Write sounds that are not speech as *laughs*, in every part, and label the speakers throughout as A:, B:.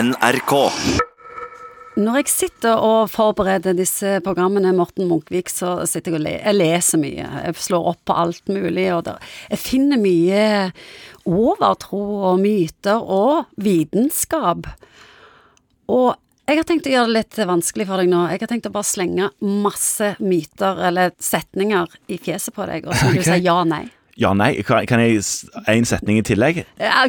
A: NRK.
B: Når jeg sitter og forbereder disse programmene, Morten Munkvik, så sitter jeg og le jeg leser mye. Jeg slår opp på alt mulig. Og der. Jeg finner mye overtro og myter og vitenskap. Og jeg har tenkt å gjøre det litt vanskelig for deg nå. Jeg har tenkt å bare slenge masse myter eller setninger i fjeset på deg, og så må du
C: Ok.
B: si ja nei.
C: Ja, nei, kan kan jeg s- en setning i tillegg?
B: Ja,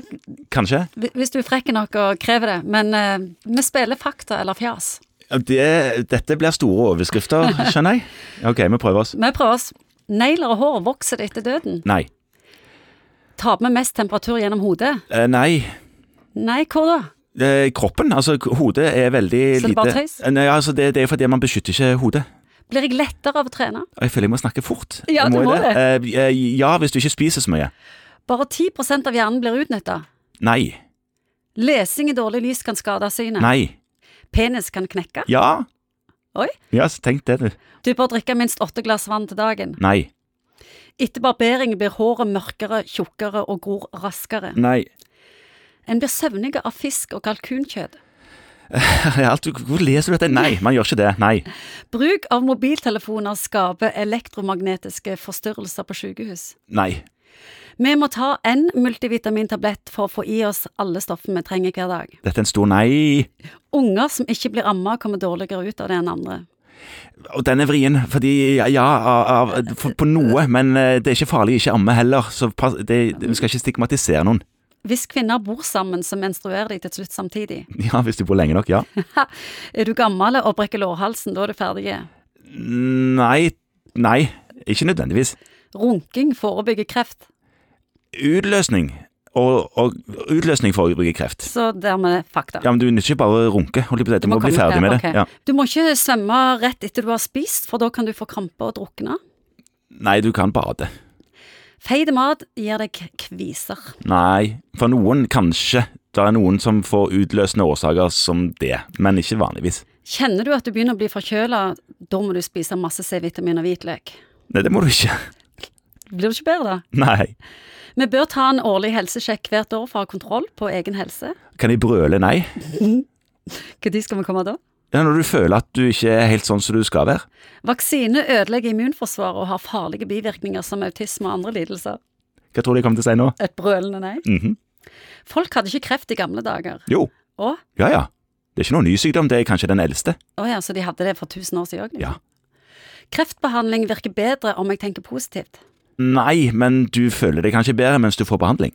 C: Kanskje?
B: Hvis du er frekk nok og krever det. Men eh, vi spiller fakta eller fjas.
C: Ja, Det, dette blir store overskrifter, skjønner jeg. *laughs* Ok, vi prøver oss.
B: Vi prøver oss. Negler og hår vokser etter døden.
C: Nei.
B: Tar vi mest temperatur gjennom hodet?
C: Eh, nei.
B: Nei, hvor da?
C: Eh, kroppen, altså k- hodet er veldig lite
B: Så det er bare tøys?
C: Eh, Nei, altså det, det er fordi man beskytter ikke hodet.
B: Blir jeg lettere av å trene?
C: Og Jeg føler jeg må snakke fort.
B: Ja,
C: Jeg
B: du må
C: Eh, eh, ja, hvis du ikke spiser så mye.
B: Bare 10 av hjernen blir utnytta.
C: Nei.
B: Lesing i dårlig lys kan skade synet.
C: Nei.
B: Penis kan knekke.
C: Ja.
B: Oi.
C: Ja, så tenk det, du.
B: Du bør drikke minst åtte glass vann til dagen.
C: Nei.
B: Etter barbering blir håret mørkere, tjukkere og gror raskere.
C: Nei.
B: En blir søvnige av fisk og kalkunkjøtt.
C: *laughs* Alt, du- hvor leser du dette? Nei, man gjør ikke det. Nei.
B: Bruk av mobiltelefoner skaper elektromagnetiske forstyrrelser på sykehus.
C: Nei.
B: Vi må ta en multivitamintablett for å få i oss alle stoffene vi trenger hver dag.
C: Dette er en stor nei.
B: Unger som ikke blir amma, kommer dårligere ut av det enn andre.
C: Og den er vrien, fordi ja, ja av, av, for, på noe, men eh, det er ikke farlig ikke amme heller, så pass, det, vi skal ikke stigmatisere noen. *laughs*
B: Hvis kvinner bor sammen, så menstruerer de til slutt samtidig.
C: Ja, hvis du bor lenge nok, ja.
B: Er du gammel og brekker lårhalsen, da er du ferdig.
C: Nei, nei, ikke nødvendigvis.
B: Runking forebygger kreft,
C: Utløsning, og, og utløsning forebygger kreft.
B: så dermed fakta.
C: Ja, men du nytter ikke bare å runke, holdt jeg på å si, du må bli
B: komme
C: ferdig
B: her,
C: med det.
B: ok.
C: Ja.
B: Du må ikke svømme rett etter du har spist, for da kan du få krampe og drukne.
C: Nei, du kan bade.
B: Feit mat gir deg kviser.
C: Nei, for noen kanskje. Det er noen som får utløsende årsaker som det, men ikke vanligvis.
B: Kjenner du at du begynner å bli forkjøla, da må du spise masse C-vitamin og hvitløk.
C: Nei, det må du ikke. *laughs*
B: Blir du ikke bedre da?
C: Nei.
B: Vi bør ta en årlig helsesjekk hvert år for å ha kontroll på egen helse.
C: Kan jeg brøle nei?
B: Når skal vi komme da?
C: Ja, når du føler at du ikke er helt sånn som du skal være.
B: Vaksine ødelegger immunforsvaret og har farlige bivirkninger som autisme og andre lidelser.
C: Hva tror du jeg kommer til å si nå?
B: Et brølende nei.
C: Mhm.
B: Folk hadde ikke kreft i gamle dager.
C: Jo,
B: Å?
C: ja ja. Det er ikke noen ny sykdom, det er kanskje den eldste.
B: Å ja, så de hadde det for 1000 år siden òg?
C: Ja.
B: Kreftbehandling virker bedre om jeg tenker positivt.
C: Nei, men du føler deg kanskje bedre mens du får behandling.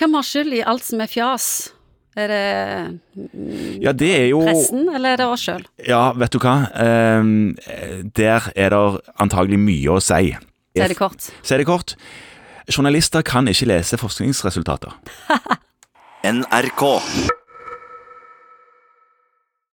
B: Hvem har skyld i alt som er fjas? Er det
C: Ja, det er jo
B: pressen, eller er det oss sjøl?
C: Ja, vet du hva. Ehm, der er det antagelig mye å si.
B: Si det kort.
C: Si det kort. Journalister kan ikke lese forskningsresultater.
A: NRK.